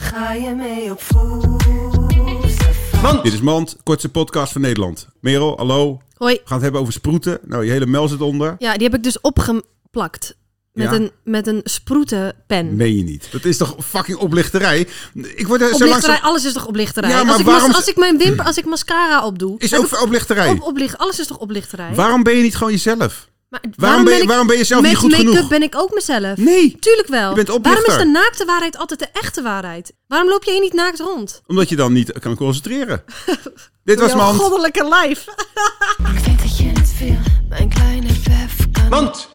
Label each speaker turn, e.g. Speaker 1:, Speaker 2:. Speaker 1: Ga je mee op voelsafari?
Speaker 2: Dit is Mand, kortste podcast van Nederland. Merel, hallo.
Speaker 3: Hoi.
Speaker 2: We gaan het hebben over sproeten. Nou, je hele mel zit onder.
Speaker 3: Ja, die heb ik dus opgeplakt. Met,
Speaker 2: Ja?
Speaker 3: een, met een sproetenpen.
Speaker 2: Meen je niet. Dat is toch fucking oplichterij? Ik word er zo
Speaker 3: Oplichterij,
Speaker 2: langzaam...
Speaker 3: alles is toch oplichterij?
Speaker 2: Ja, maar
Speaker 3: als, ik
Speaker 2: waarom-
Speaker 3: mas- als ik mijn wimper, als ik mascara opdoe...
Speaker 2: Is
Speaker 3: heb
Speaker 2: ook
Speaker 3: ik
Speaker 2: oplichterij.
Speaker 3: op, oplicht, alles is toch oplichterij?
Speaker 2: Waarom ben je niet gewoon jezelf?
Speaker 3: Maar
Speaker 2: waarom ben je- waarom ben je zelf
Speaker 3: met
Speaker 2: niet goed genoeg?
Speaker 3: make-up ben ik ook mezelf.
Speaker 2: Nee.
Speaker 3: Tuurlijk wel.
Speaker 2: Je bent
Speaker 3: waarom is
Speaker 2: oplichter.
Speaker 3: de naakte waarheid altijd de echte waarheid? Waarom loop je hier niet naakt rond?
Speaker 2: Omdat je dan niet kan concentreren. Dit was
Speaker 3: Jouw
Speaker 2: Mand.
Speaker 3: goddelijke lijf.
Speaker 1: Ik denk dat je het wil, mijn kleine pef kan
Speaker 2: Mand.